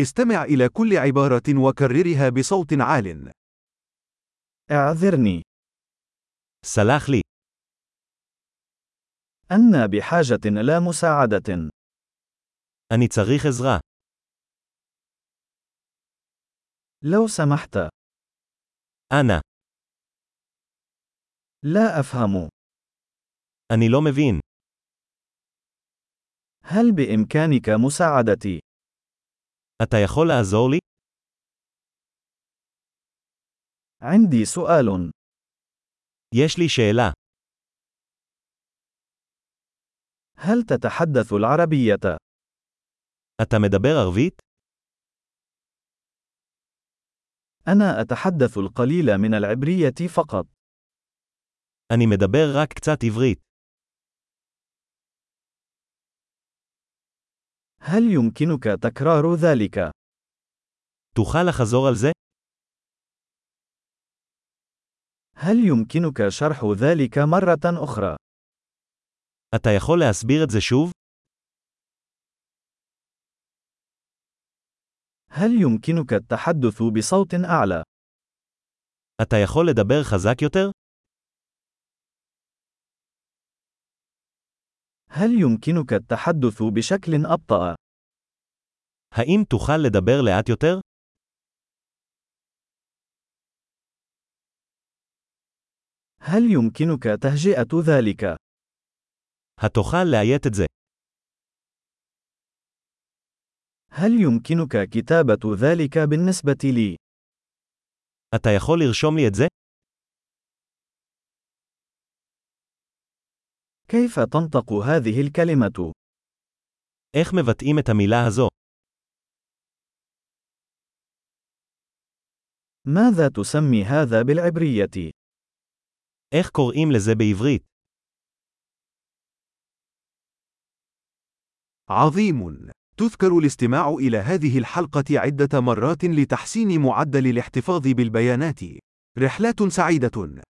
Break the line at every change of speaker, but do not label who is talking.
استمع إلى كل عبارة وكررها بصوت عال.
اعذرني
سلח לי,
أنا بحاجة إلى مساعدة
אני צריך עזרה.
لو سمحت
אנא,
لا أفهم
אני לא מבין.
هل بإمكانك مساعدتي
אתה יכול לעזור לי?
عندي سؤال
יש לי שאלה.
هل تتحدث العربية
אתה מדבר ערבית?
أنا أتحدث القليل من العبرية فقط
אני מדבר רק קצת עברית.
هل يمكنك تكرار ذلك
תוכל לחזור על זה?
هل يمكنك شرح ذلك مرة أخرى
אתה יכול להסביר את זה שוב?
هل يمكنك التحدث بصوت أعلى
אתה יכול לדבר חזק יותר?
هل يمكنك التحدث بشكل أبطأ
האם תוכל לדבר לאט יותר?
هل يمكنك تهجئة ذلك
התוכל לאיית את זה.
هل يمكنك كتابة ذلك بالنسبة لي
אתה יכול לרשום לי את זה?
كيف تنطق هذه الكلمة؟
איך מבטאים את המילה הזו?
ماذا تسمي هذا بالعبرية؟
איך קוראים לזה בעברית?
عظيم. تذكر الاستماع إلى هذه الحلقة عدة مرات لتحسين معدل الاحتفاظ بالبيانات. رحلات سعيدة.